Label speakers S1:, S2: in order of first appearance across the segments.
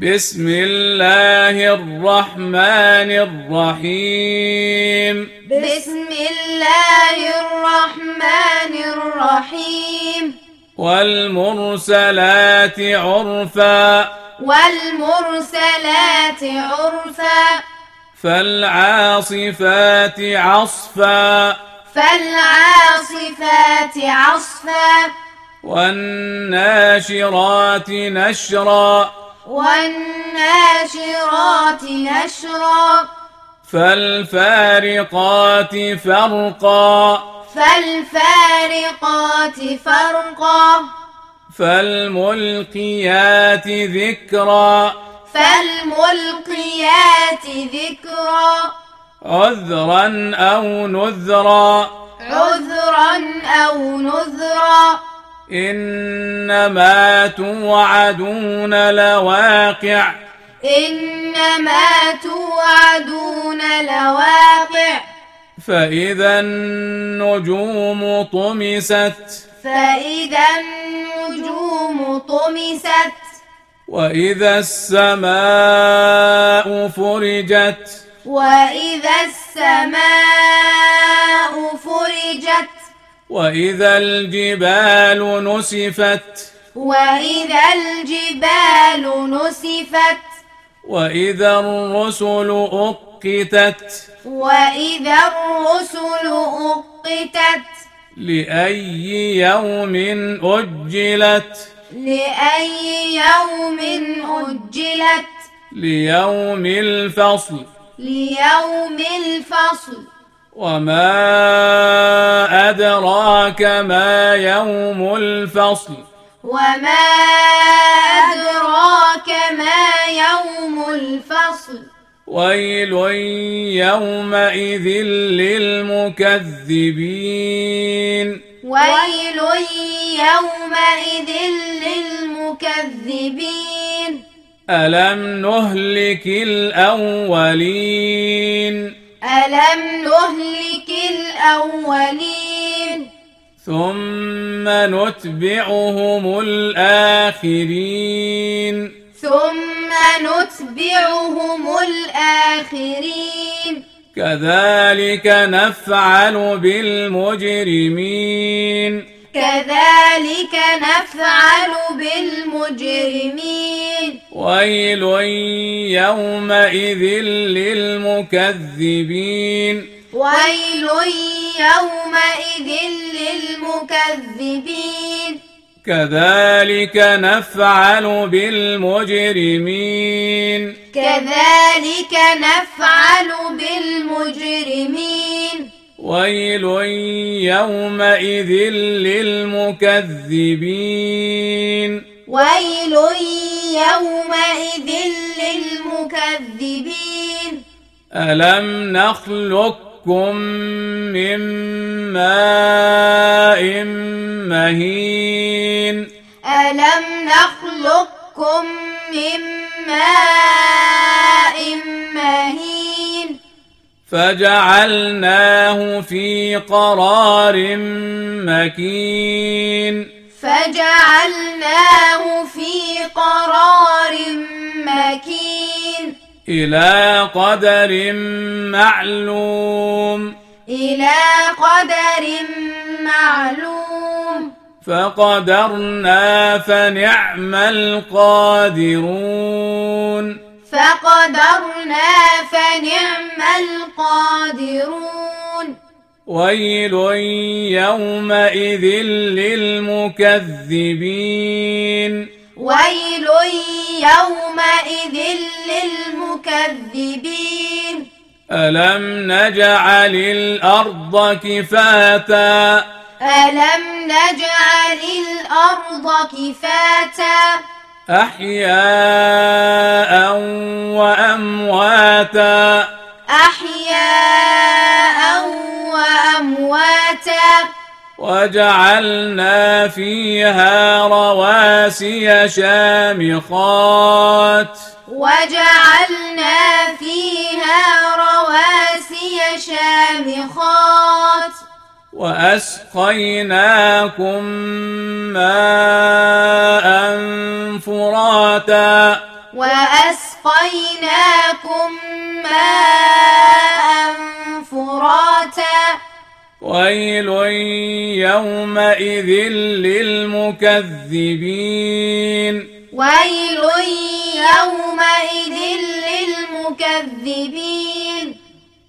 S1: بسم الله الرحمن الرحيم
S2: بسم الله الرحمن الرحيم
S1: والمرسلات عرفا
S2: والمرسلات عرفا
S1: فالعاصفات عصفا
S2: فالعاصفات عصفا
S1: والناشرات نشرا
S2: والناشرات نشرا
S1: فالفارقات فرقا
S2: فالفارقات فرقا
S1: فالملقيات ذكرا
S2: فالملقيات ذكرا
S1: عذرا أو نذرا
S2: عذرا أو نذرا
S1: إنما توعدون لواقع
S2: إنما توعدون لواقع
S1: فإذا النجوم طمست
S2: فإذا النجوم طمست
S1: وإذا السماء فرجت
S2: وإذا السماء فرجت
S1: وإذا الجبال نسفت
S2: وإذا الجبال نسفت
S1: وإذا الرسل أقتت
S2: وإذا الرسل أقتت
S1: لأي يوم أجلت
S2: لأي يوم أجلت
S1: ليوم الفصل
S2: ليوم الفصل
S1: وما أدراك ما يوم الفصل
S2: وما أدراك ما يوم الفصل
S1: ويل يومئذ للمكذبين
S2: ويل يومئذ للمكذبين
S1: ألم نهلك الأولين
S2: ألم نهلك الأولين
S1: ثم نتبعهم الآخرين
S2: ثم نتبعهم الآخرين
S1: كذلك نفعل بالمجرمين
S2: كذلك نفعل بالمجرمين
S1: ويل يومئذ للمكذبين
S2: ويل يومئذ للمكذبين
S1: كذلك نفعل بالمجرمين
S2: كذلك نفعل بالمجرمين
S1: ويل يومئذ للمكذبين
S2: ويل يومئذ للمكذبين
S1: ألم نخلقكم من ماء مهين
S2: ألم نخلقكم من ماء مهين
S1: فجعلناه في قرار مكين
S2: فجعلناه في قرار مكين
S1: إلى قدر معلوم
S2: إلى قدر معلوم
S1: فقدرنا فنعم القادرون
S2: فقدرنا فنعم القادرون
S1: ويل يومئذ للمكذبين
S2: ويل يومئذ للمكذبين
S1: ألم نجعل الأرض كفاتا
S2: ألم نجعل الأرض كفاتا
S1: أحياء وأمواتا
S2: أحياء وأمواتا
S1: وجعلنا فيها رواسي شامخات
S2: وجعلنا فيها رواسي شامخات
S1: وأسقيناكم ماء فراتا
S2: وأسقيناكم ماء فراتا
S1: ويل يومئذ للمكذبين
S2: ويل يومئذ للمكذبين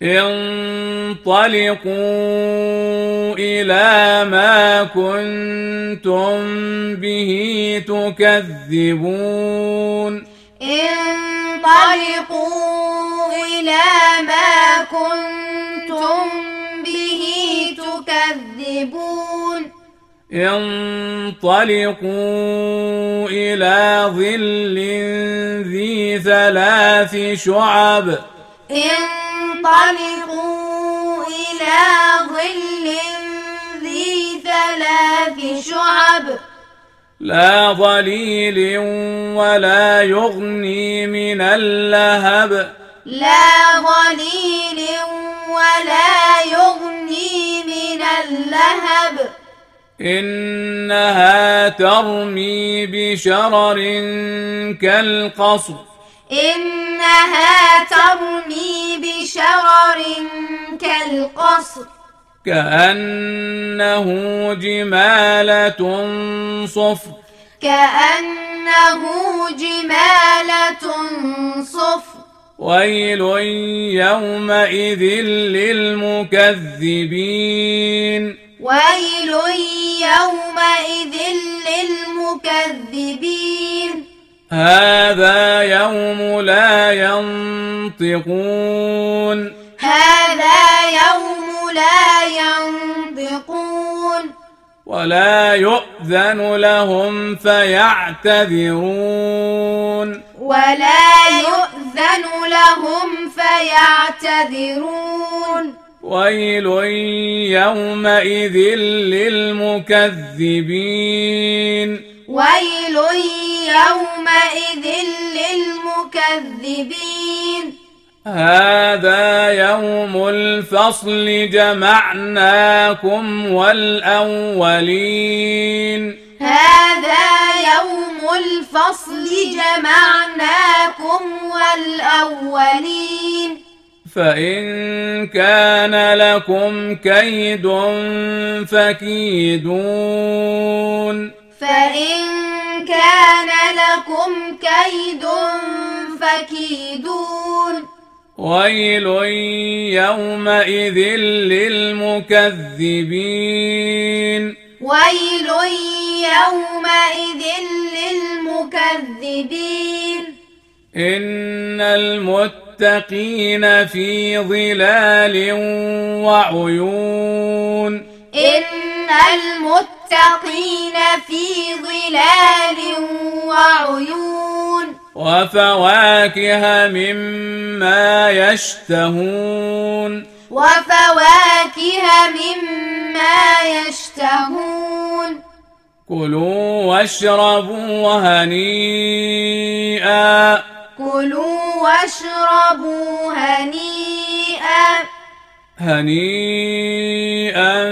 S1: انطلقوا إلى ما كنتم به تكذبون
S2: انطلقوا إلى ما كنتم به تكذبون
S1: انطلقوا إلى ظل ذي ثلاث شعب
S2: انطلقوا إلى ظل ذي ثلاث شعب
S1: لا ظليل ولا يغني من اللهب
S2: لا ظليل ولا يغني من اللهب
S1: إنها ترمي بشرر كالقصر
S2: إنها ترمي بشرر كالقصر
S1: كأنه جمالة صفر
S2: كأنه جمالة صفر
S1: ويل يومئذ للمكذبين
S2: ويل يومئذ للمكذبين
S1: هذا يوم لا ينطقون
S2: هذا يوم لا ينطقون
S1: ولا يؤذن لهم فيعتذرون
S2: ولا يؤذن لهم فيعتذرون
S1: ويل يومئذ للمكذبين
S2: ويل يومئذ للمكذبين
S1: هذا يوم الفصل جمعناكم والأولين
S2: هذا يوم الفصل جمعناكم والأولين
S1: فإن كان لكم كيد فكيدون
S2: فإن كان لكم كيد فكيدون
S1: ويل يومئذ للمكذبين
S2: ويل يومئذ للمكذبين
S1: إن المتقين في ظلال وعيون
S2: إن المتقين في ظلال وعيون
S1: وفواكه مما يشتهون
S2: وفواكه مما يشتهون
S1: كلوا واشربوا هنيئا
S2: كلوا واشربوا هنيئا
S1: هنيئا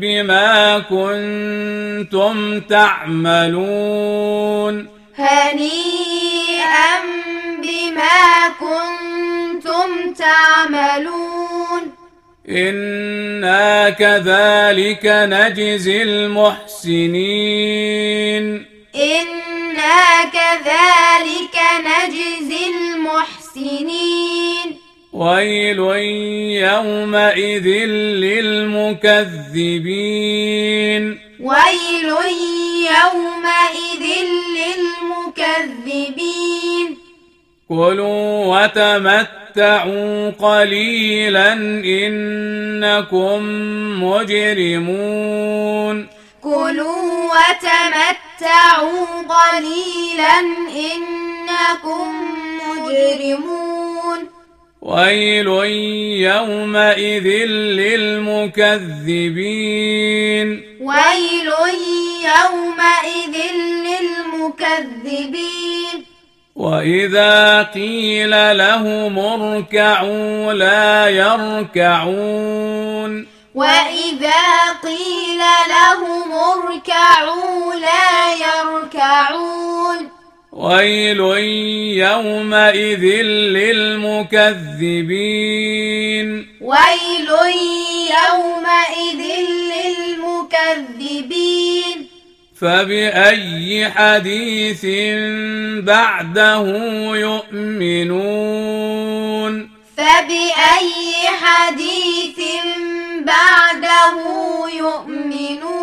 S1: بما كنتم تعملون
S2: هنيئا بما كنتم تعملون
S1: إنا كذلك نجزي المحسنين
S2: إنا كذلك نجزي المحسنين
S1: ويل يومئذ للمكذبين
S2: ويل يومئذ للمكذبين
S1: كلوا وتمتعوا قليلا إنكم مجرمون
S2: كلوا وتمتعوا قليلا إنكم مجرمون
S1: ويل يومئذ للمكذبين
S2: ويل يومئذ للمكذبين
S1: وإذا قيل لهم اركعوا لا يركعون
S2: وإذا قيل لهم اركعوا لا يركعون
S1: ويل يومئذ للمكذبين
S2: ويل يومئذ للمكذبين
S1: فبأي حديث بعده يؤمنون
S2: فبأي حديث بعده يؤمنون